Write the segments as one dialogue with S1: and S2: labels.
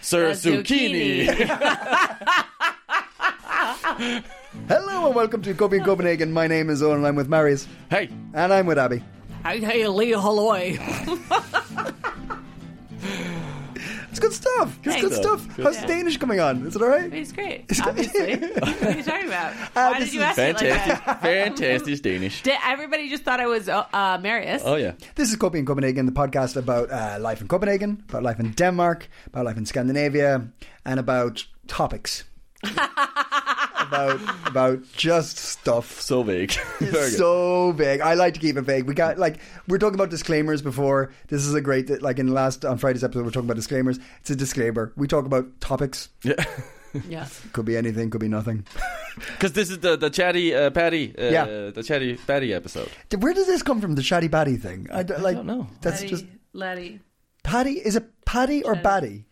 S1: Sir
S2: A
S1: Zucchini.
S3: Hello and welcome to Copy in Copenhagen. My name is Owen and I'm with Marius.
S1: hey,
S3: And I'm with Abby.
S2: Hey, hey, Lee, hello.
S3: It's good stuff. It's good
S2: Thanks.
S3: stuff. How's the Danish coming on? Is it alright?
S2: He's great, obviously. what are you talking about?
S3: Uh,
S2: Why
S3: this
S2: did you
S3: is
S2: ask me like that?
S1: fantastic, fantastic Danish.
S2: Did, everybody just thought I was uh, uh, Marius.
S1: Oh yeah,
S3: This is Copy in Copenhagen, the podcast about uh, life in Copenhagen, about life in Denmark, about life in Scandinavia, and about topics. about about just stuff.
S1: so vague. Very good.
S3: so big. I like to keep it vague. We got like we're talking about disclaimers before. This is a great like in the last on Friday's episode we're talking about disclaimers. It's a disclaimer. We talk about topics.
S2: Yeah.
S3: Could be anything. Could be nothing.
S1: Because this is the the chatty uh, patty, uh,
S3: Yeah.
S1: the chatty patty episode.
S3: Did- Where does this come from? The chatty batty thing? I, d- like,
S1: don't know.
S3: That's
S2: Letty,
S3: just
S2: Letty.
S3: patty. Is it patty or batty?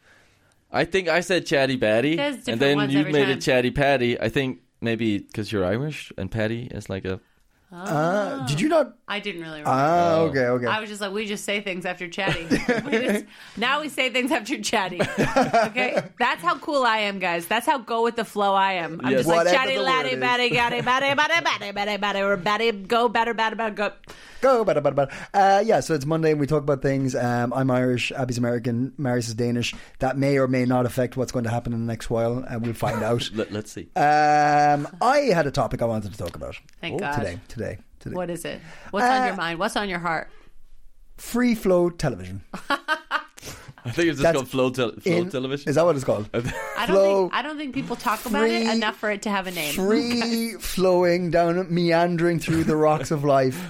S1: I think I said chatty batty,
S2: There's different
S1: and then
S2: ones
S1: you
S2: every
S1: made
S2: time.
S1: it chatty patty. I think maybe because you're Irish and patty is like a
S3: Ah, did you not?
S2: I didn't really remember.
S3: Ah, okay, okay.
S2: I was just like, we just say things after chatty. We just- now we say things after chatty. Okay? That's how cool I am, guys. That's how go with the flow I am. I'm
S1: Yes.
S2: just
S3: Whatever
S2: like chatty,
S3: the word
S2: laddie,
S3: is.
S2: batty, gatty, batty, batty, batty, batty, batty, or batty, go, batter, batter, batter, go.
S3: Go, bada, bada, bada. Uh, yeah, so it's Monday and we talk about things. Um, I'm Irish, Abby's American, Marius is Danish. That may or may not affect what's going to happen in the next while, and we'll find out.
S1: let, let's see.
S3: Um, I had a topic I wanted to talk about
S2: Thank God.
S3: today. Today, today.
S2: What is it? What's on
S3: Uh,
S2: your mind? What's on your heart?
S3: Free flow television.
S1: I think it's just
S3: that's
S1: called flow, tel- flow
S3: In-
S1: television.
S3: Is that what it's called?
S2: I don't
S3: Flow.
S2: think I don't think people talk about it
S3: free-
S2: enough for it to have a name.
S3: Free flowing down, meandering through the rocks of life.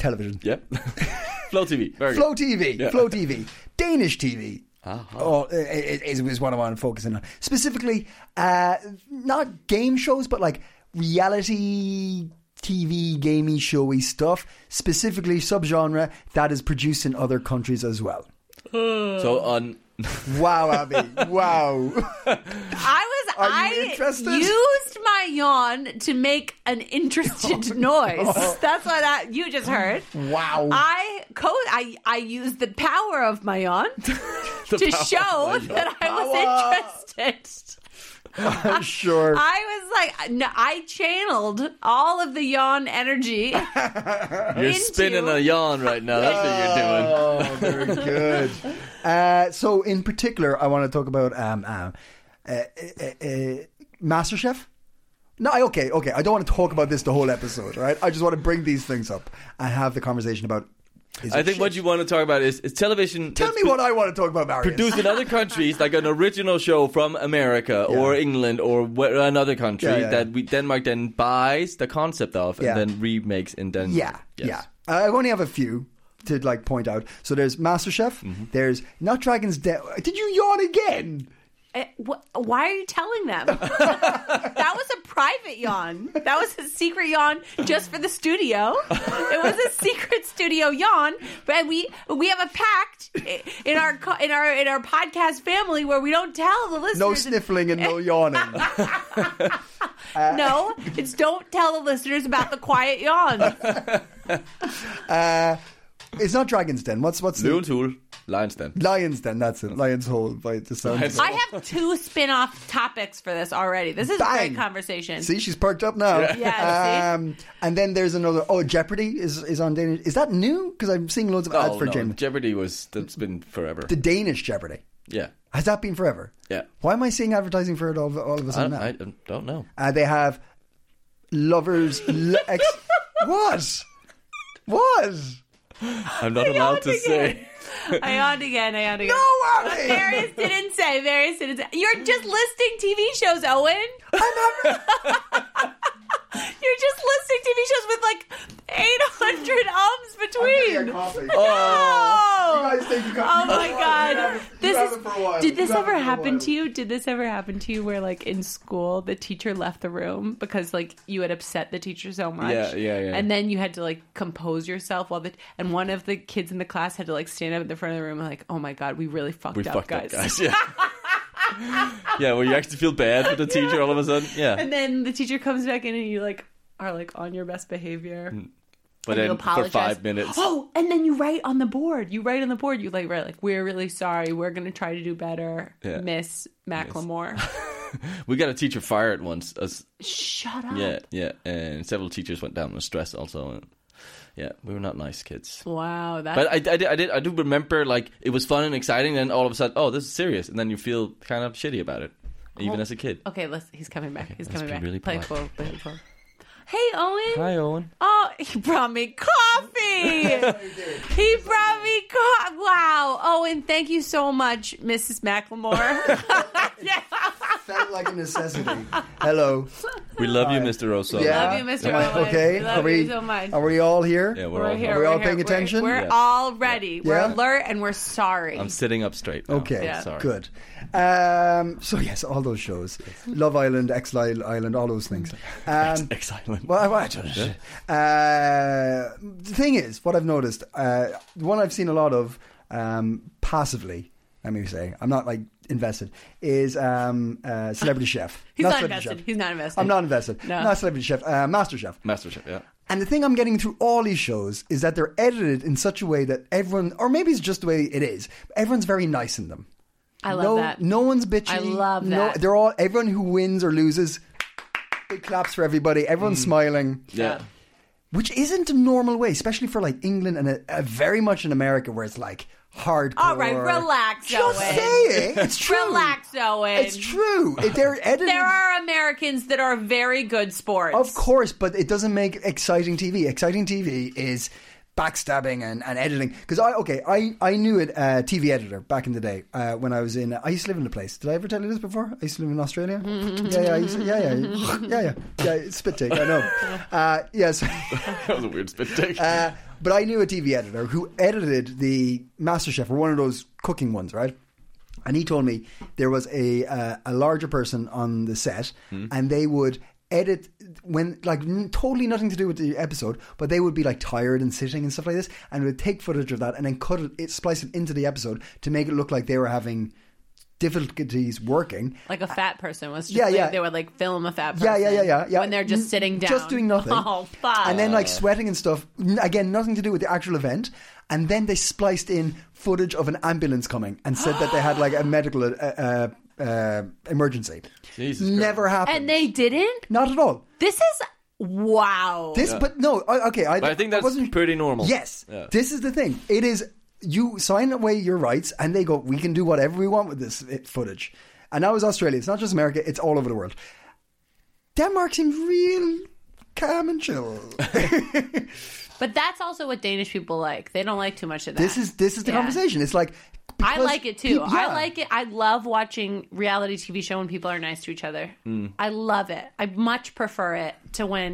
S3: Television.
S1: Yep. flow TV. Very
S3: Flow
S1: good.
S3: TV,
S1: Yeah. Uh-huh.
S3: Flow TV, Danish TV. Oh, i- i- is, is what I want focusing on specifically. Uh, not game shows, but like reality TV, gamey, showy stuff. Specifically, subgenre that is produced in other countries as well.
S1: So on
S3: Wow, Abby! wow.
S2: I was
S3: Are
S2: I
S3: you interested?
S2: used my yawn to make an
S3: Oh,
S2: interested noise. That's what I, you just heard.
S3: Wow.
S2: I co I I used the power of my yawn to show that I was interested.
S3: I'm sure.
S2: I was like, no, I channeled all of the yawn energy.
S1: you're
S2: Into-
S1: spinning a yarn right now. That's what you're doing.
S3: Oh, very good. Uh, so, in particular, I want to talk about um, um, uh, uh, uh, MasterChef. No, I- okay, okay. I don't want to talk about this the whole episode, right? I just want to bring these things up and have the conversation about. Is
S1: I
S3: it
S1: think
S3: shit?
S1: what you want to talk about is, is television.
S3: tell me what I want to talk about, Marius.
S1: produced in other countries, like an original show from America or
S3: Yeah.
S1: England or wh- another country
S3: Yeah, yeah,
S1: that
S3: yeah.
S1: we Denmark then buys the concept of and
S3: Yeah.
S1: then remakes in Denmark.
S3: Yeah,
S1: Yes.
S3: yeah. Uh, I only have a few to like point out. So there's MasterChef.
S1: Mm-hmm.
S3: There's not Dragon's Den. Did you yawn again?
S2: Eh, wh- Why are you telling them? that was a private yawn. That was a secret yawn just for the studio. It was a secret studio yawn. But we we have a pact i- in our co- in our in our podcast family where we don't tell the listeners.
S3: No sniffling and no yawning.
S2: No, it's don't tell the listeners about the quiet yawn.
S3: it's not Dragon's Den. What's what's the
S1: Løvens Hule, Lions Den.
S3: Lions Den, that's it. Lions Hole by the sound. of it.
S2: I have two spin-off topics for this already. This is a
S3: Bang.
S2: great conversation.
S3: See, she's perked up now.
S2: Yeah,
S3: um, and then there's another. Oh, Jeopardy is is on Danish. Is that new? Because I'm seeing loads of ads
S1: Oh,
S3: for
S1: no,
S3: Jim.
S1: Jeopardy was that's been forever.
S3: the Danish Jeopardy
S1: yeah,
S3: has that been forever?
S1: Yeah.
S3: Why am I seeing advertising for it all, of- all of a
S1: I,
S3: sudden now?
S1: I don't know.
S3: uh, they have lovers. lo- ex- what? What?
S1: I'm not allowed to
S2: yawned
S1: say.
S2: I yawned again. I yawned again.
S3: No, Abby!
S2: Marius didn't say. Marius didn't say. You're just listing TV shows, Owen. You're just listing TV shows with like 800 ums between.
S3: coffee.
S2: Oh.
S3: You guys think you
S2: Oh
S3: got-
S2: my
S3: You have
S2: god.
S3: it- you
S2: This
S3: have it for a while.
S2: is Did this
S3: You have it
S2: ever
S3: for a
S2: happen
S3: while.
S2: to you? Did this ever happen to you where like in school the teacher left the room because like you had upset the teacher so much?
S1: Yeah, yeah, yeah.
S2: And then you had to like compose yourself while the and one of the kids in the class had to like stand up at the front of the room and like, "Oh my god, we really fucked
S1: we
S2: up,
S1: fucked up, guys. Yeah. yeah, well, you actually feel bad for the teacher all of a sudden. Yeah.
S2: And then the teacher comes back in and you like are like on your best behavior.
S1: Mm. but
S2: and you
S1: then for
S2: apologize.
S1: five minutes.
S2: Oh, and then you write on the board. You write on the board. You like write like we're really sorry. We're gonna try to do better,
S1: Yeah.
S2: Miss Macklemore.
S1: We got a teacher fired once. Us-
S2: Shut up.
S1: yeah, yeah. And several teachers went down with stress also. And yeah, we were not nice kids.
S2: Wow. That's
S1: But I, I, did, I did I do remember like it was fun and exciting and all of a sudden oh this is serious and then you feel kind of shitty about it even as a kid.
S2: okay. Let's. He's coming back. he's
S1: let's
S2: coming
S1: be
S2: back.
S1: really
S2: Play
S1: polite.
S2: cool. Play cool. Hey Owen.
S1: Hi Owen.
S2: Oh, he brought me coffee. he brought me coffee. Wow, Owen. Thank you so much, Mrs. Macklemore.
S3: Felt like a necessity. Hello.
S1: We love you Mr. Rosso.
S2: Love you, Mr.
S3: Am I
S2: Owen.
S3: Okay.
S2: Love
S3: are we,
S2: you so much.
S3: Are we all here?
S1: Yeah, we're,
S2: We're
S1: all
S2: here.
S3: Are we
S2: we're
S3: all
S2: here.
S3: paying
S2: We're-
S3: attention?
S2: We're,
S1: Yeah.
S2: all ready. We're
S3: Yeah.
S2: alert and we're sorry.
S1: I'm sitting up straight. Now.
S3: Okay,
S1: I'm sorry.
S3: good. Um, so yes, all those shows, Love Island, Exile Island, all those things. Um,
S1: Excellent.
S3: well, I- I don't know. Uh, the thing is, what I've noticed, uh, the one I've seen a lot of um, passively, let me say, I'm not like invested, is um, uh, Celebrity Chef.
S2: He's not
S3: Celebrity
S2: invested.
S3: Chef.
S2: He's not invested.
S3: I'm not invested.
S2: No.
S3: Not Celebrity Chef. Uh, Master Chef.
S1: MasterChef, yeah.
S3: And the thing I'm getting through all these shows is that they're edited in such a way that everyone, or maybe it's just the way it is, everyone's very nice in them.
S2: I love
S3: no,
S2: that.
S3: No one's bitchy.
S2: I love
S3: No,
S2: that.
S3: they're all everyone who wins or loses. Big claps for everybody. Everyone's smiling,
S1: Yeah.
S3: which isn't a normal way, especially for like England and a, a very much in America where it's like hardcore.
S2: All right, relax,
S3: Just
S2: Owen.
S3: saying, it's true.
S2: Relax, Owen.
S3: It's true. If They're edited.
S2: There are Americans that are very good sports.
S3: Of course, but it doesn't make exciting TV. Exciting TV is backstabbing and, and editing. Because I okay, I I knew it uh, TV editor back in the day uh, when I was in. I used to live in a place. Did I ever tell you this before? I used to live in Australia. yeah, yeah, I used to, yeah, yeah, yeah, yeah, yeah, yeah. Spit take. I know. Uh, yes.
S1: that was a weird spit take.
S3: Uh, but I knew a TV editor who edited the MasterChef or one of those cooking ones, right? And he told me there was a uh, a larger person on the set, and they would edit when like n- totally nothing to do with the episode, but they would be like tired and sitting and stuff like this, and would take footage of that and then cut it, it splice it into the episode to make it look like they were having difficulties working.
S2: Like a fat person was just
S3: Yeah,
S2: like-
S3: yeah.
S2: they would like film a fat person.
S3: Yeah, yeah, yeah, yeah, yeah.
S2: When they're just sitting down.
S3: Just doing nothing.
S2: Oh, fuck.
S3: And then like
S1: Ah.
S3: sweating and stuff. N- Again, nothing to do with the actual event. And then they spliced in footage of an ambulance coming and said that they had like a medical uh, uh, uh, emergency.
S1: Jesus
S3: Never happened.
S2: and they didn't?
S3: Not at all.
S2: This is wow.
S3: This, but no, I- okay. I,
S1: But I think that's
S3: wasn't,
S1: pretty normal.
S3: Yes,
S1: Yeah.
S3: this is the thing. It is you sign away your rights, and they go, "We can do whatever we want with this i- footage." And that was Australia. It's not just America; it's all over the world. Denmark seems real calm and chill.
S2: but that's also what Danish people like. They don't like too much of that.
S3: this is this is the
S2: Yeah.
S3: conversation. It's like
S2: I
S3: because
S2: like it too.
S3: peop-
S2: I
S3: yeah.
S2: like it. I love watching reality TV show when people are nice to each other.
S3: Hmm.
S2: I love it. I much prefer it to when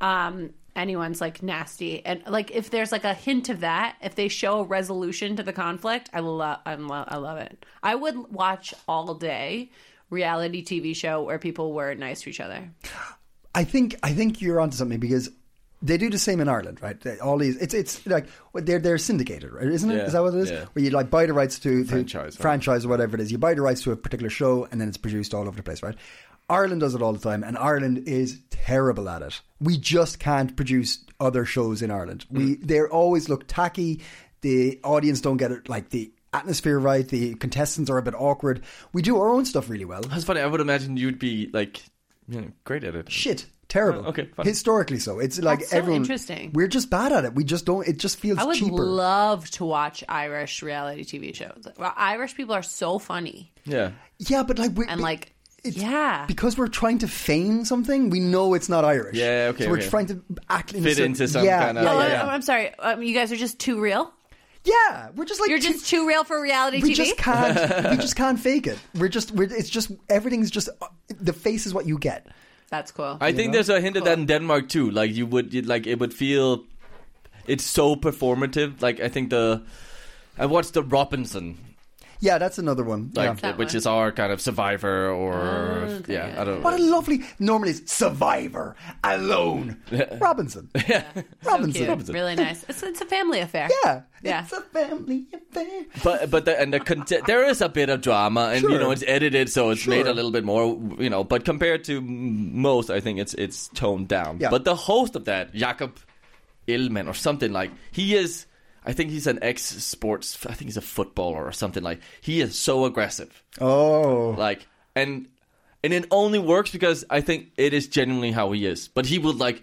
S2: um, anyone's like nasty and like if there's like a hint of that, if they show a resolution to the conflict, I love. I lo- I love it. I would watch all day reality TV show where people were nice to each other.
S3: I think I think you're onto something because they do the same in Ireland, right? They- All these, it's it's like well, they're they're syndicated, right? Isn't it?
S1: Yeah,
S3: Is that what it is?
S1: yeah.
S3: Where you like buy the rights to to
S1: Franchise, right?
S3: franchise or whatever it is. You buy the rights to a particular show, and then it's produced all over the place, right? Ireland does it all the time, and Ireland is terrible at it. We just can't produce other shows in Ireland. We
S1: Mm.
S3: they always look tacky. The audience don't get it, like the atmosphere right. The contestants are a bit awkward. We do our own stuff really well.
S1: That's funny. I would imagine you'd be like, you know, great at it.
S3: Shit. Terrible.
S1: Oh, okay, fine.
S3: Historically, so it's like
S2: That's so
S3: everyone.
S2: interesting.
S3: We're just bad at it. We just don't. It just feels
S2: I would
S3: cheaper.
S2: love to watch Irish reality TV shows. Well, Irish people are so funny
S1: Yeah.
S3: yeah, but like we
S2: and like yeah.
S3: because we're trying to feign something. We know it's not Irish.
S1: Yeah, okay,
S3: So we're
S1: okay.
S3: trying to act in a
S1: Fit
S3: certain-
S1: into some
S3: yeah,
S1: kind of-
S3: yeah,
S2: Oh,
S3: yeah,
S2: I'm-
S3: yeah.
S2: I'm, sorry. Um, you guys are just too real.
S3: Yeah, we're just like
S2: You're
S3: two-
S2: just too real for reality
S3: we
S2: TV.
S3: just can't. we just can't fake it. We're just. We're, it's just everything's just the face is what you get.
S2: That's cool.
S1: I think there's a hint of that in Denmark too. Like you would, you'd, like it would feel, it's so performative. Like I think the, I watched the Robinson,
S3: Yeah, that's another one.
S1: like
S3: yeah.
S2: That
S1: which
S2: one.
S1: is our kind of Survivor or yeah, I don't.
S3: What a lovely. Normally it's Survivor, Alone, Robinson. Yeah. Robinson.
S2: Cute. Really nice. It's, it's a family affair.
S3: Yeah.
S2: Yeah.
S3: It's a family affair.
S1: but but the, and the conte- there is a bit of drama, and you
S3: Sure.
S1: know it's edited, so it's made
S3: Sure.
S1: a little bit more, you know. But compared to m- most, I think it's it's toned down.
S3: Yeah.
S1: But the host of that, Jakob Ilman or something like, he is. I think he's an ex-sports. I think he's a footballer or something like. He is so aggressive,
S3: Oh.
S1: like, and and it only works because I think it is genuinely how he is. But he would like,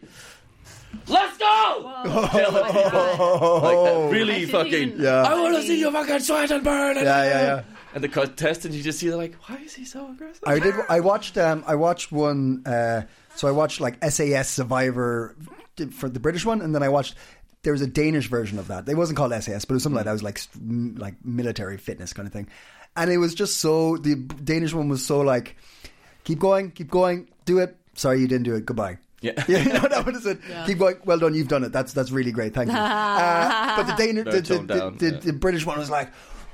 S1: let's go, Tell the
S3: Oh.
S1: people, like that
S2: I
S1: really
S2: didn't
S1: fucking.
S2: even-
S3: Yeah.
S1: I want to see you fucking sweat and burn. And
S3: Yeah, yeah, yeah.
S1: and the contestants, you just see they're like, why is he so aggressive?
S3: I did. I watched. Um, I watched one. Uh, so I watched like SAS Survivor for the British one, and then I watched. There was a Danish version of that. It wasn't called SAS, but it was something like that. It was like s- m- like military fitness kind of thing, and it was just so. The Danish one was so like, keep going, keep going, do it. Sorry, you didn't do it. Goodbye.
S1: Yeah.
S3: yeah no, that was it. Keep going. Well done. You've done it. That's that's really great. Thank you. Uh, but the Danish, the,
S1: Very
S3: the,
S1: toned down,
S3: the-
S1: yeah.
S3: the British one was like,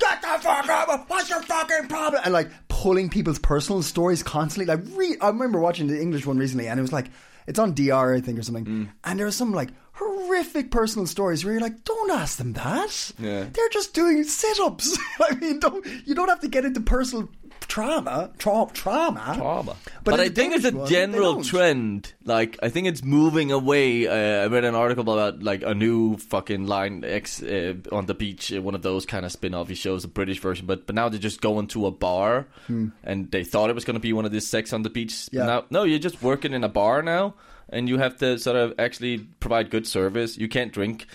S3: "Get the fuck up! What's your fucking problem?" And like pulling people's personal stories constantly. Like, re- I remember watching the English one recently, and it was like, it's on DR, I think, or something.
S1: Mm.
S3: And there was some like horrific personal stories where you're like, "Don't ask them that.
S1: Yeah.
S3: They're just doing sit-ups. I mean, don't you don't have to get into personal trauma, tra- trauma,
S1: Trauma. But,
S3: in
S1: I
S3: the
S1: think it's a
S3: Danish one, they
S1: general
S3: don't.
S1: trend. Like, I think it's moving away. Uh, I read an article about like a new fucking line X uh, on the beach, uh, one of those kind of spin-offy shows, a British version. But but now they just go into a bar, and they thought it was going to be one of these sex on the beach.
S3: Hmm. Yeah.
S1: Now, no, you're just working in a bar now, and you have to sort of actually provide good service. You can't drink.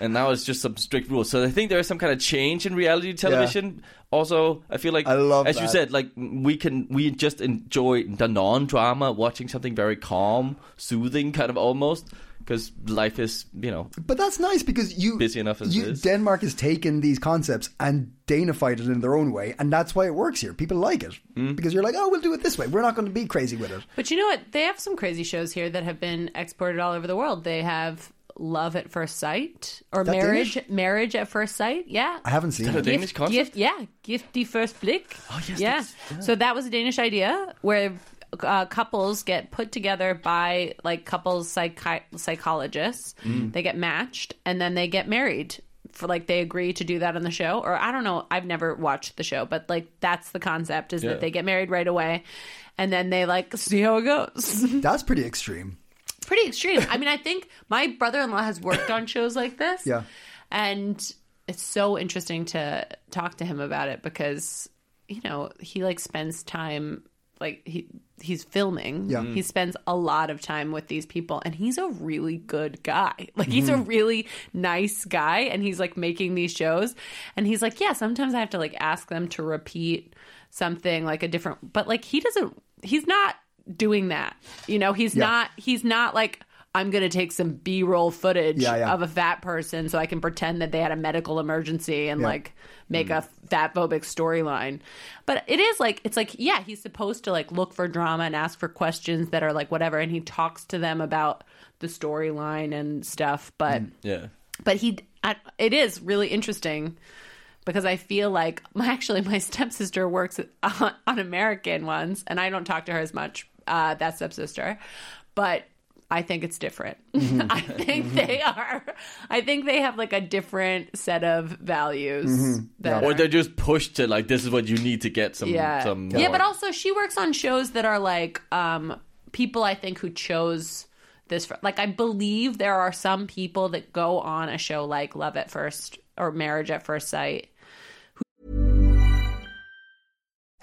S1: And now it's just some strict rules. So I think there is some kind of change in reality television. Also, I feel like
S3: I love
S1: as you
S3: that.
S1: said, like we can we just enjoy the non-drama, watching something very calm, soothing, kind of almost because life is you know
S3: But that's nice because you
S1: Busy enough as
S3: you,
S1: it is.
S3: Denmark has taken these concepts and danified it in their own way, and that's why it works here. People like it
S1: Hmm.
S3: because you're like, oh, we'll do it this way. We're not going to be crazy with it.
S2: But you know what? They have some crazy shows here that have been exported all over the world. They have Love at First Sight or
S3: that
S2: Marriage
S3: Danish?
S2: Marriage at First Sight. Yeah.
S3: I haven't seen it.
S1: Danish concept?
S2: Gift, yeah, gift the first blick. Oh
S1: yes,
S2: yeah.
S1: that's-
S2: So that was a Danish idea where uh, couples get put together by like couples psychi- psychologists. They get matched and then they get married. For like they agree to do that on the show, or I don't know. I've never watched the show, but like that's the concept is
S1: Yeah.
S2: that they get married right away, and then they like see how it goes.
S3: That's pretty extreme.
S2: pretty extreme. I mean, I think my brother in law has worked on shows like this.
S3: Yeah.
S2: And it's so interesting to talk to him about it because, you know, he like spends time like he he's filming.
S3: Yeah. Mm.
S2: He spends a lot of time with these people and he's a really good guy. Like he's
S3: Mm-hmm.
S2: a really nice guy and he's like making these shows and he's like, "Yeah, sometimes I have to like ask them to repeat something like a different but like he doesn't he's not doing that. You know, he's
S3: Yeah.
S2: not he's not like I'm going to take some B-roll footage
S3: Yeah, yeah.
S2: of a fat person so I can pretend that they had a medical emergency and like make
S3: Mm-hmm.
S2: a fat phobic storyline. But it is like it's like yeah, he's supposed to like look for drama and ask for questions that are like whatever and he talks to them about the storyline and stuff, but
S3: Mm.
S1: yeah.
S2: but he I, it is really interesting because I feel like my, actually my stepsister works on, on American ones, and I don't talk to her as much. Uh, that stepsister, but I think it's different. I think they are. I think they have like a different set of values. That
S1: Or
S2: are-
S1: they're just pushed to like this is what you need to get some
S2: yeah
S1: some
S2: yeah
S1: more.
S2: but also she works on shows that are like um people i think who chose this for, like i believe there are some people that go on a show like love at first or marriage at first sight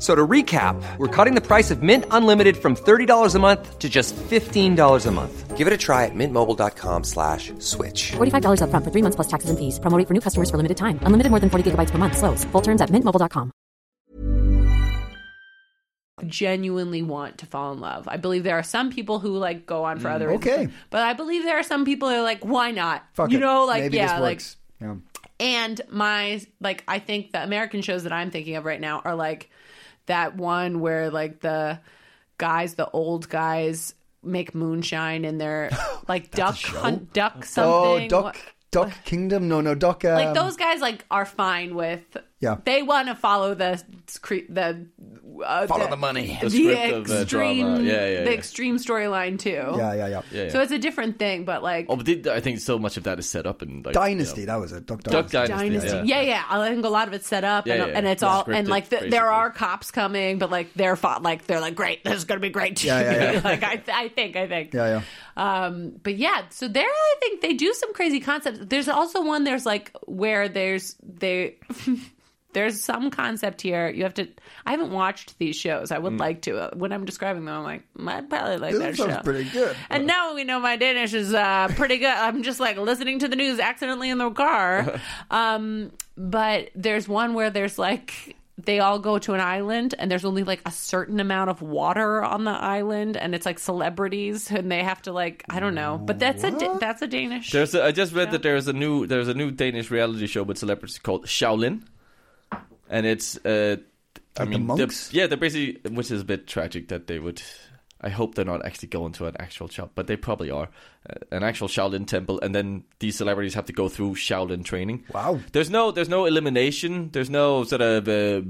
S4: So to recap, we're cutting the price of Mint Unlimited from $30 a month to just $15 a month. Give it a try at mintmobile.com slash switch.
S5: $45 upfront for three months plus taxes and fees. Promoting for new customers for limited time. Unlimited more than 40 gigabytes per month. Slows. Full terms at mintmobile.com.
S2: genuinely want to fall in love. I believe there are some people who like go on for other reasons.
S3: Mm, okay.
S2: But I believe there are some people who are like, why not?
S3: Fuck
S2: you
S3: it.
S2: know, like
S3: Maybe
S2: yeah,
S3: this
S2: like
S3: works. yeah.
S2: and my like I think the American shows that I'm thinking of right now are like that one where like the guys, the old guys make moonshine and they're like duck hunt duck something.
S3: Oh, Duck,
S2: What-
S3: Duck Kingdom. No, no, Duck. Um,
S2: like those guys like are fine with
S3: Yeah.
S2: they want to follow the cre- the uh,
S3: Follow the money.
S2: the,
S1: script of the
S2: extreme
S1: drama. Yeah, yeah,
S2: the
S1: yeah.
S2: extreme storyline too
S3: Yeah, yeah, yeah.
S1: yeah.
S2: so it's a different thing but like
S1: Oh, but did, I think so much of that is set up in like,
S3: Dynasty.
S1: you know,
S3: That was it. Duck Dynasty.
S1: Duck Dynasty.
S2: Dynasty.
S1: Yeah.
S2: Yeah. yeah, I think a lot of it's set up,
S1: Yeah,
S2: and,
S1: yeah,
S2: and it's
S1: yeah.
S2: all and
S1: Scripted,
S2: like the,
S1: basically.
S2: there are cops coming, but like they're fought, like they're like great, this is gonna be great. TV.
S3: yeah,
S2: like I, I think, I think.
S3: Yeah, yeah.
S2: Um, but yeah, so there I think they do some crazy concepts. There's also one there's like where there's they there's some concept here. You have to. I haven't watched these shows. I would
S1: Mm.
S2: like to. Uh, When I'm describing them, I'm like, I probably like
S3: This
S2: that
S3: sounds
S2: show.
S3: pretty good.
S2: And now we know my Danish is uh, pretty good. I'm just like listening to the news accidentally in the car. Um, but there's one where there's like they all go to an island and there's only like a certain amount of water on the island and it's like celebrities and they have to like I don't know. But that's a da- that's a Danish.
S1: There's a, I just read that there's a new there's a new Danish reality show with celebrities called Shaolin, and it's uh, I
S3: Like the
S1: mean they're-
S3: monks?
S1: yeah, they're basically which is a bit tragic that they would. I hope they're not actually going to an actual shop, but they probably are uh, an actual Shaolin temple, and then these celebrities have to go through Shaolin training.
S3: Wow.
S1: There's no there's no elimination. There's no sort of uh,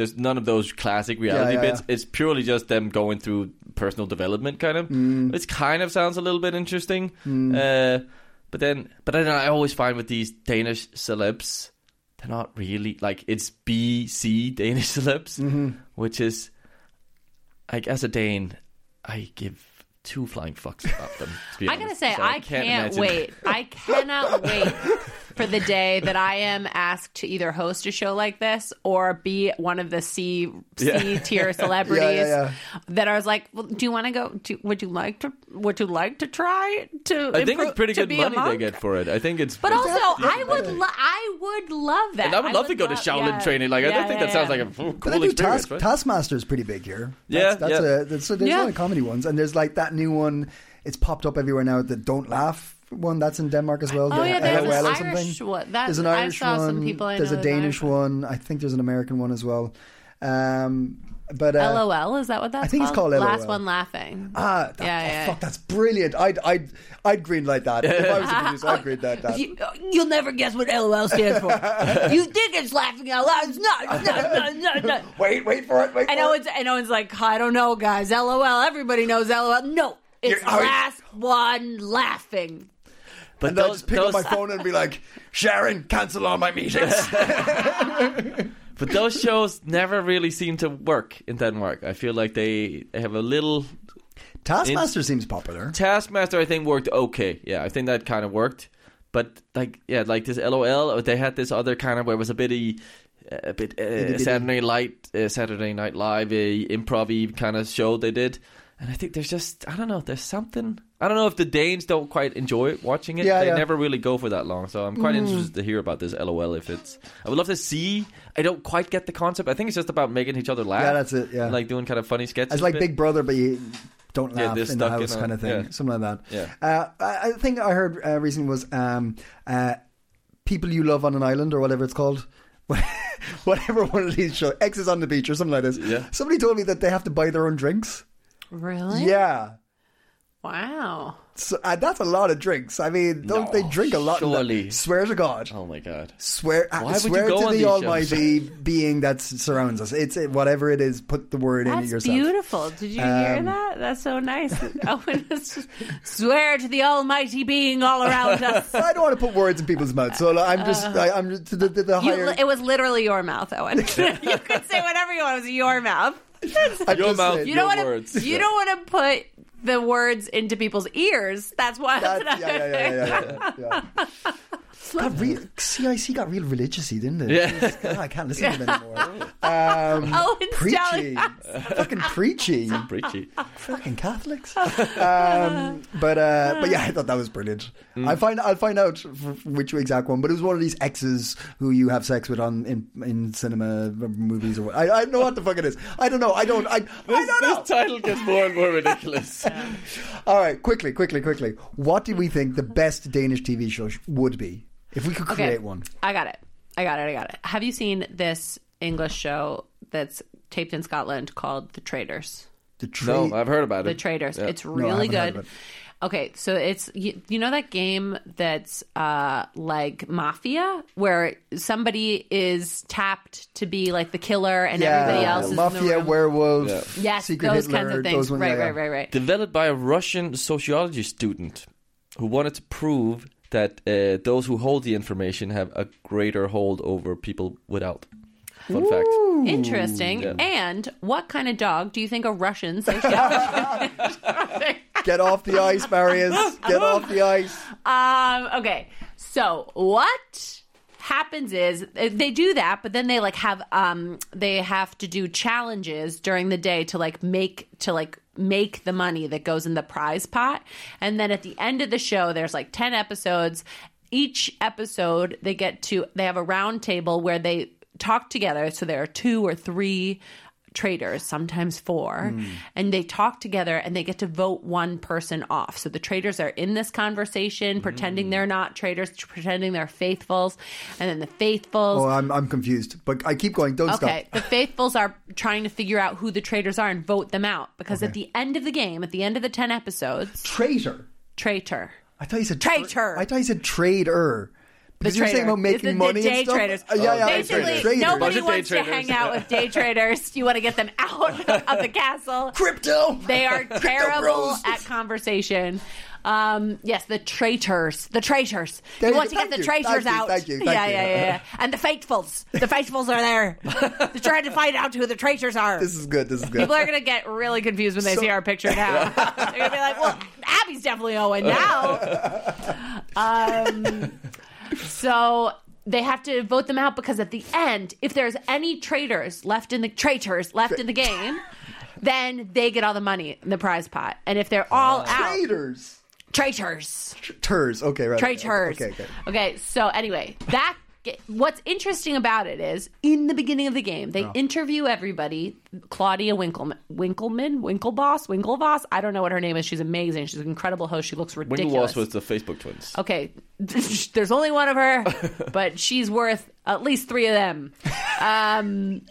S1: there's none of those classic reality
S3: yeah,
S1: bits. It's purely just them going through personal development, kind of.
S3: Mm.
S1: It's kind of sounds a little bit interesting. Uh, but then, but then I always find with these Danish celebs, they're not really like it's BC Danish celebs,
S3: Mm-hmm.
S1: which is like as a Dane, I give two flying fucks about them. to be
S2: I gotta
S1: honest.
S2: say,
S1: So
S2: I, can't,
S1: imagine-
S2: wait. I cannot wait for the day that I am asked to either host a show like this or be one of the C C tier celebrities
S3: yeah.
S2: that are like, well, "Do you want to go? Do, would you like to? Would you like to try to?
S1: I think
S2: improve-
S1: it's pretty
S2: to
S1: good
S2: be a
S1: money they
S2: monk?"
S1: get for it. I think it's.
S2: But
S1: it's
S2: also, I would, lo- I would love that.
S1: And I would love to
S2: would
S1: go to Shaolin
S2: yeah.
S1: training. Like I
S2: Yeah,
S1: don't think
S2: yeah,
S1: that sounds
S2: yeah.
S1: like a f- cool
S3: But I do
S1: experience.
S3: Task,
S1: right?
S3: Taskmaster's pretty big here.
S1: Yeah,
S3: that's, that's
S1: yeah.
S3: A, that's, so there's
S2: Yeah.
S3: a lot of comedy ones, and there's like that new one. It's popped up everywhere now. The Don't Laugh one that's in Denmark as well.
S2: Oh,
S3: the
S2: yeah, there's an
S3: LOL or
S2: Irish
S3: something.
S2: one. That-
S3: there's an
S2: I
S3: Irish
S2: saw
S3: one.
S2: some people I
S3: there's
S2: know
S3: a
S2: with an Irish
S3: Danish one. I think there's an American one as well. Um, but uh,
S2: LOL is that what that's?
S3: think it's called
S2: Last
S3: LOL.
S2: one laughing.
S3: Ah,
S2: Yeah,
S3: that, oh,
S2: yeah.
S3: fuck, that's brilliant. I'd, I'd, I'd green light that. If I was a producer, I'd green light that.
S2: You, you'll never guess what LOL stands for. you think it's laughing out loud. It's not. It's not. It's not, it's not.
S3: Wait, wait for it. Wait
S2: I know
S3: for
S2: it's. I know it's like I don't know, guys. LOL. Everybody knows LOL. No, it's
S3: You're- oh, I-
S2: last one laughing.
S1: But
S3: And I'll just pick up my phone and be like, Sharon, cancel all my meetings.
S1: but those shows never really seem to work in Denmark. I feel like they have a little
S3: Taskmaster seems popular.
S1: Taskmaster. I think worked okay. Yeah, I think that kind of worked. But like, yeah, like this LOL. or They had this other kind of where it was a bitty. A bit uh,
S3: bitty.
S1: Saturday Night, uh, Saturday Night Live, uh, improv kind of show they did, and I think there's just I don't know, there's something I don't know if the Danes don't quite enjoy watching it.
S3: Yeah, Mm.
S1: they
S3: yeah.
S1: never really go for that long, so I'm quite interested to hear about this. LOL, if it's I would love to see. I don't quite get the concept. I think it's just about making each other laugh.
S3: Yeah, that's it, yeah.
S1: And, like doing kind of funny sketches.
S3: It's like
S1: a bit.
S3: Big Brother, but you don't
S1: Yeah,
S3: laugh
S1: they're
S3: in the
S1: stuck in
S3: house
S1: a-
S3: kind of thing.
S1: yeah.
S3: Something like that.
S1: Yeah.
S3: Uh, I I think I heard uh, recently was um, uh, People You Love on an Island or whatever it's called. whatever one of these shows. X is on the beach or something like this.
S1: Yeah.
S3: Somebody told me that they have to buy their own drinks.
S2: Really?
S3: Yeah.
S2: Wow.
S3: So, uh, that's a lot of drinks. I mean, don't
S1: No,
S3: they drink a lot? in that?
S1: surely.
S3: Swear to God.
S1: Oh my god.
S3: Swear, uh,
S1: Why would you
S3: swear
S1: go
S3: to
S1: on
S3: the
S1: these shows?
S3: Almighty being that s- surrounds us. It's it, whatever it is. Put the word in it
S2: That's
S3: yourself. Um,
S2: beautiful. Did you hear that? That's so nice. Owen is- swear to the Almighty being all around us.
S3: I don't want to put words in people's mouths, so like, I'm just I, I'm just, the, the, the
S2: You,
S3: higher.
S2: it was literally your mouth, Owen. you could say whatever you want. It was your mouth.
S3: I'm
S1: Your
S3: just
S1: mouth.
S3: saying.
S1: your
S2: you don't want to
S1: words.
S2: you don't want to put the words into people's ears. That's why.
S3: That- yeah, yeah, yeah, yeah, yeah, yeah, yeah. Got real, CIC got real religiousy, didn't it?
S1: Yeah.
S3: Jesus, God, I can't listen to them anymore. Um,
S2: Oh, it's
S3: preachy.
S2: Sally.
S3: Fucking preachy.
S1: Preachy.
S3: Fucking Catholics. Um, but uh, but yeah, I thought that was brilliant.
S1: Mm.
S3: I find I'll find out f- which exact one, but it was one of these exes who you have sex with on in, in cinema movies or what. I, I don't know what the fuck it is. I don't know. I don't. I, I
S1: This,
S3: don't know.
S1: this title gets more and more ridiculous.
S3: All right, quickly, quickly, quickly. What do we think the best Danish TV show sh- would be if we could create one?
S2: I got it. I got it. I got it. Have you seen this English show that's taped in Scotland called The Traitors?
S3: The tree.
S1: no, Oh, I've heard about it.
S2: Um, The Traitors. It's
S3: I
S2: really
S3: haven't heard
S2: good.
S3: of it.
S2: Okay, so it's you, you know that game that's uh like mafia where somebody is tapped to be like the killer and everybody else is
S3: mafia,
S2: in the room.
S3: werewolf,
S1: Yeah.
S2: yes,
S3: secret
S2: those
S3: Hitler,
S2: kinds of
S3: those
S2: things.
S3: ones,
S2: right,
S3: yeah, yeah.
S2: right, right, right.
S1: developed by a Russian sociology student who wanted to prove that uh, those who hold the information have a greater hold over people without. Fun fact.
S2: Interesting. And what kind of dog do you think a Russian sociologist?
S3: Get off the ice, Marius. Get off the ice.
S2: Um, okay. So what happens is uh, they do that, but then they like have um they have to do challenges during the day to like make to like make the money that goes in the prize pot. And then at the end of the show there's like 10 episodes. Each episode they get to they have a round table where they talk together so there are two or three traders, sometimes four,
S3: Hmm.
S2: and they talk together and they get to vote one person off. So the traders are in this
S3: Hmm.
S2: conversation, pretending they're not traders, t- pretending they're faithfuls, and then the faithfuls.
S3: Oh, I'm, I'm confused, but I keep going. Don't
S2: Okay,
S3: stop.
S2: the faithfuls are trying to figure out who the traders are and vote them out because at the end of the game, at the end of the 10 episodes,
S3: Traitor.
S2: traitor.
S3: I thought you said
S2: Traitor.
S3: I thought you said trader. Because you're saying
S2: trader.
S3: about making
S2: It's the- the
S3: money
S2: day
S3: and stuff.
S2: traders.
S3: Uh, yeah, yeah, I said
S2: Basically,
S3: traders.
S2: nobody
S1: Bunch of day
S2: wants to
S1: traders.
S2: hang out with day traders. You want to get them out of the castle.
S3: Crypto.
S2: They are
S3: Crypto
S2: terrible
S3: bros.
S2: at conversation. Um, yes, the traitors. The traitors.
S3: There
S2: you
S3: you
S2: want
S3: go.
S2: to get the
S3: Thank you.
S2: traitors
S3: Thank you.
S2: out.
S3: Thank you. Thank
S2: yeah,
S3: you.
S2: yeah, yeah, yeah. And the faithfuls. The faithfuls are there. They're trying to find out who the traitors are.
S3: This is good. This is good.
S2: People are going to get really confused when they
S3: So-
S2: see our picture now. They're going to be like, well, Abby's definitely Owen now. Um, so they have to vote them out because at the end, if there's any traitors left in the traitors left in the game, then they get all the money in the prize pot. And if they're all out,
S3: Traders.
S2: traitors
S3: Turs. Okay, right. right.
S2: traitors.
S3: Okay, okay.
S2: Okay, so anyway, that what's interesting about it is in the beginning of the game
S3: Oh.
S2: they interview everybody. Claudia Winkleman, Winkleman, Winklevoss, Winklevoss. I don't know what her name is. She's amazing. She's an incredible host. She looks ridiculous.
S1: Winklevoss was the Facebook twins.
S2: okay, there's only one of her, but she's worth at least three of them. Um,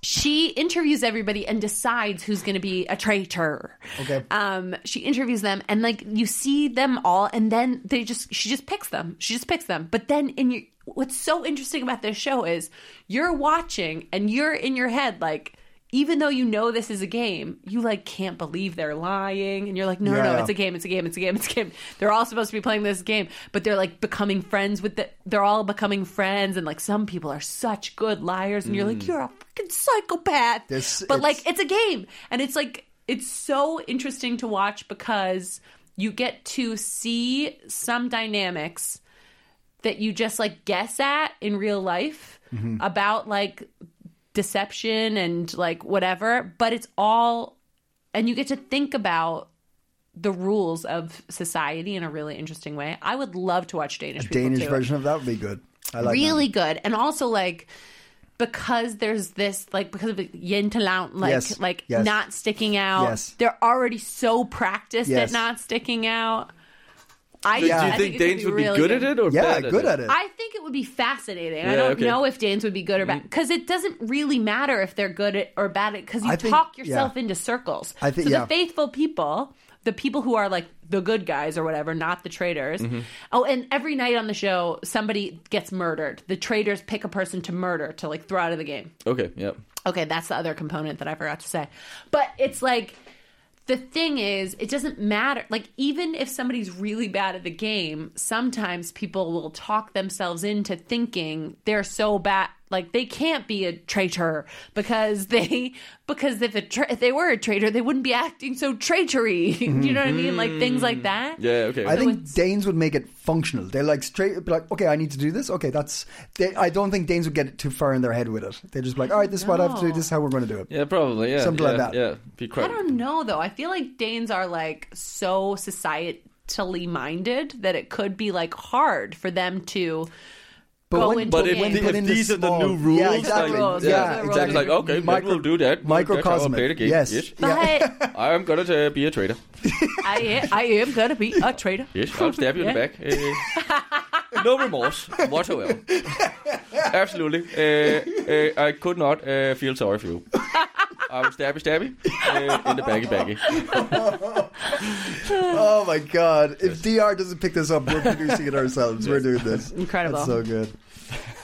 S2: she interviews everybody and decides who's going to be a traitor.
S3: Okay.
S2: Um, she interviews them and like you see them all, and then they just she just picks them. She just picks them. But then in your what's so interesting about this show is you're watching and you're in your head like. Even though you know this is a game, you like can't believe they're lying, and you're like, no, no,
S3: Yeah.
S2: no, it's a game, it's a game, it's a game, it's a game. They're all supposed to be playing this game, but they're like becoming friends with the. They're all becoming friends, and like some people are such good liars, and you're like, you're a fucking psychopath.
S3: This-
S2: but
S3: it's-
S2: like, it's a game, and it's like it's so interesting to watch because you get to see some dynamics that you just like guess at in real life about like deception and like whatever, but it's all and you get to think about the rules of society in a really interesting way. I would love to watch Danish people
S3: Danish
S2: too.
S3: version of that would be good. I like
S2: really good, and also like because there's this like because of Yintalant, like
S3: Yes.
S2: like
S3: Yes.
S2: not sticking out.
S3: Yes.
S2: They're already so practiced
S3: Yes.
S2: at not sticking out. I,
S1: Do
S2: I
S1: you think
S2: it could
S1: Danes would be
S2: really
S1: good at it or
S3: that. Yeah,
S1: bad
S3: good at it.
S2: I think it would be fascinating. I
S1: Yeah,
S2: don't
S1: okay.
S2: know if Danes would be good or bad
S3: Mm.
S2: because it doesn't really matter if they're good at, or bad at because you
S3: I think-
S2: talk yourself
S3: yeah.
S2: into circles.
S3: I think-
S2: so
S3: yeah.
S2: the faithful people, the people who are like the good guys or whatever, not the traitors.
S3: Mm-hmm.
S2: Oh, and every night on the show, somebody gets murdered. The traitors pick a person to murder to like throw out of the game.
S1: Okay, yeah.
S2: Okay, that's the other component that I forgot to say. But it's like the thing is, it doesn't matter. Like even if somebody's really bad at the game, sometimes people will talk themselves into thinking they're so bad Like they can't be a traitor because they because if a tra- if they were a traitor, they wouldn't be acting so traitory. you know what I mean? Like things like that.
S1: Yeah, okay.
S3: I think Danes would make it functional. They're like straight, be like, okay, I need to do this. Okay, that's. They, I don't think Danes would get too far in their head with it. They're just be like, all right, this is what I have to do. This is how we're going to do it.
S1: yeah, probably. Yeah,
S3: Something like
S1: yeah,
S3: that.
S1: Yeah, be
S2: I
S1: quite.
S2: don't know though. I feel like Danes are like so societally minded that it could be like hard for them to go
S3: when-
S2: into
S1: But
S2: a
S1: if,
S2: game.
S1: the-
S3: But in
S1: if
S3: the
S1: these are the
S3: small-
S1: new rules,
S3: Yeah, exactly.
S1: like,
S2: Yeah,
S1: yeah,
S2: the rules.
S1: exactly. Like, okay,
S3: Micro-
S1: we'll do that. We'll- that's how I'll play the
S3: Microcosmic.
S1: game.
S3: Yes.
S1: yes.
S2: but
S1: I'm gonna uh, be a traitor.
S2: I am, I am gonna be a traitor.
S1: Yes, I'll stab you in the back. Uh, no remorse whatsoever. Absolutely. Uh, uh, I could not uh, feel sorry for you. I was stabby stabby uh, in the baggy baggy.
S3: Oh my god! If Dr doesn't pick this up, we're producing it ourselves. We're doing this.
S2: Incredible.
S3: That's so good.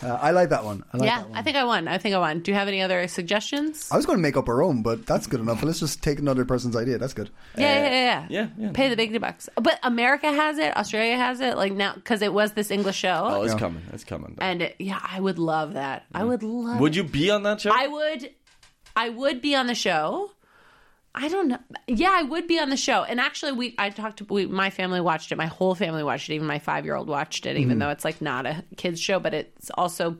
S3: Uh, I like that one. I like
S2: Yeah,
S3: that one.
S2: I think I won. I think I won. Do you have any other suggestions?
S3: I was going to make up our own, but that's good enough. Let's just take another person's idea. That's good.
S2: yeah, yeah, yeah,
S1: yeah, yeah.
S2: Pay the big bucks. But America has it. Australia has it. Like now, because it was this English show,
S1: Oh, it's coming. It's coming.
S2: and it, yeah, I would love that. I would love.
S1: Would you be on that show?
S2: I would I would be on the show. I don't know. Yeah, I would be on the show. And actually we I talked to we, my family watched it. My whole family watched it. Even my 5-year-old watched it
S3: Mm.
S2: even though it's like not a kids show, but it's also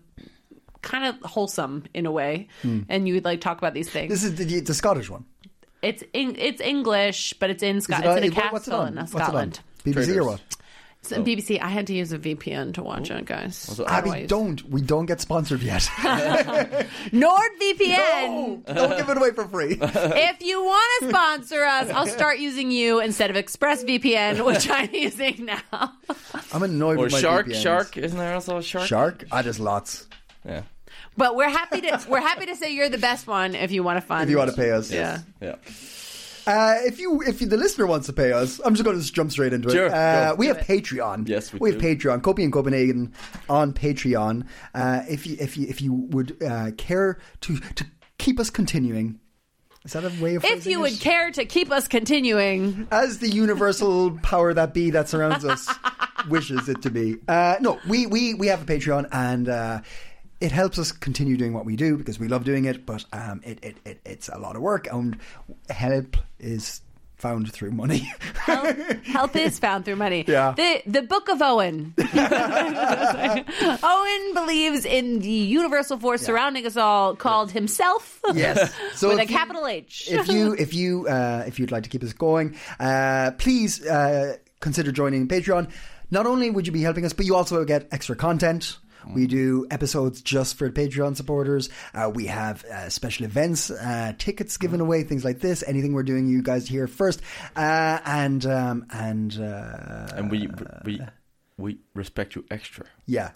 S2: kind of wholesome in a way. And you would like talk about these things.
S3: Mm. This is the, the Scottish one.
S2: it's in, it's English, but it's in
S3: Is
S2: Scotland.
S3: it on-
S2: it's in a
S3: what- what's it
S2: castle
S3: on?
S2: in uh,
S3: What's it on?
S2: Scotland.
S3: BBC or
S1: Traders.
S3: what?
S2: It's in BBC. I had to use a VPN to watch it, guys.
S3: Abby, don't. We don't get sponsored yet.
S2: NordVPN.
S3: no, don't give it away for free.
S2: if you want to sponsor us, I'll start using you instead of ExpressVPN, which I'm using now.
S3: I'm annoyed
S1: or
S3: with my
S1: shark?
S3: VPNs.
S1: Shark? Isn't there also a shark?
S3: Shark? I just lots.
S1: Yeah.
S2: But we're happy to we're happy to say you're the best one if you want to fund.
S3: If you want to pay us,
S2: yeah.
S1: Yeah.
S3: Uh, if you if you, the listener wants to pay us, I'm just going to just jump straight into it.
S1: Sure,
S3: uh,
S1: go.
S3: we have Patreon.
S1: Yes, we
S3: have
S1: do.
S3: Patreon. Copy in Copenhagen on Patreon. Uh, if you if you if you would uh, care to to keep us continuing, is that a way of
S2: If
S3: phrasing
S2: you
S3: it?
S2: would care to keep us continuing,
S3: as the universal power that be that surrounds us wishes it to be. Uh, no, we, we, we have a Patreon and uh, it helps us continue doing what we do because we love doing it, but um, it, it, it, it's a lot of work and help is found through money.
S2: help is found through money.
S3: Yeah.
S2: The the Book of Owen. Owen believes in the universal force surrounding us all, called himself.
S3: yes. So
S2: with a
S3: if you-
S2: capital H.
S3: if you if you uh, if you'd like to keep us going, uh, please uh, consider joining Patreon. Not only would you be helping us, but you also get extra content. We do episodes just for Patreon supporters. Uh, we have uh, special events, uh, tickets given away, things like this. Anything we're doing, you guys hear first. Uh, and um, and uh,
S1: And we we we respect you extra.
S3: yeah,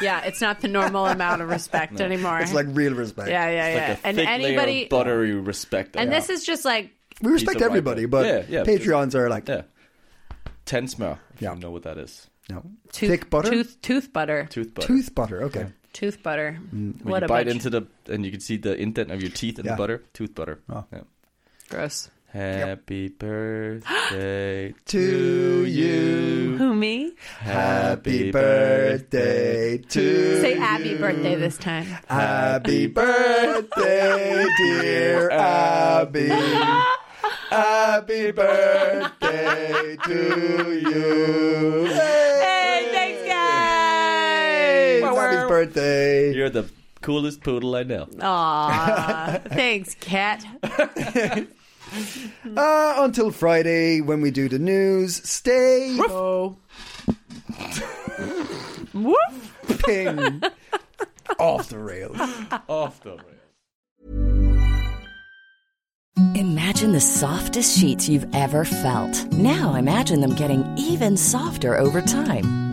S2: yeah, it's not the normal amount of respect anymore.
S3: it's like real respect.
S2: yeah, yeah, yeah.
S1: Like a
S2: and
S1: thick layer
S2: anybody
S1: of buttery respect.
S2: and this is just like
S3: we respect
S1: Piece of
S3: everybody,
S1: right-
S3: but
S1: Yeah, yeah.
S3: Patreons are like
S1: yeah. Ten smell. If
S3: Yeah.
S1: you know what that is.
S3: no
S2: tooth,
S3: thick butter,
S2: tooth tooth butter,
S1: Tooth
S2: tooth,
S1: butter.
S3: tooth butter. Okay,
S2: butter.
S1: When
S2: what
S1: you
S2: a
S1: bite
S2: bunch.
S1: into the and you can see the indent of your teeth in
S3: Yeah. Oh.
S1: the butter. Tooth butter. Yeah.
S2: gross.
S1: Happy birthday
S3: To
S1: to you.
S2: Who me?
S3: Happy birthday to
S2: Say Abby birthday this time.
S3: Happy birthday, dear Abby. Happy birthday to you.
S2: Hey, thanks guys.
S3: Happy birthday.
S1: You're the coolest poodle I know.
S2: Aw, thanks, cat.
S3: Uh, until Friday when we do the news, stay
S2: Oh. Woof.
S3: ping off the rails.
S1: Off the rails.
S6: Imagine the softest sheets you've ever felt. Now imagine them getting even softer over time.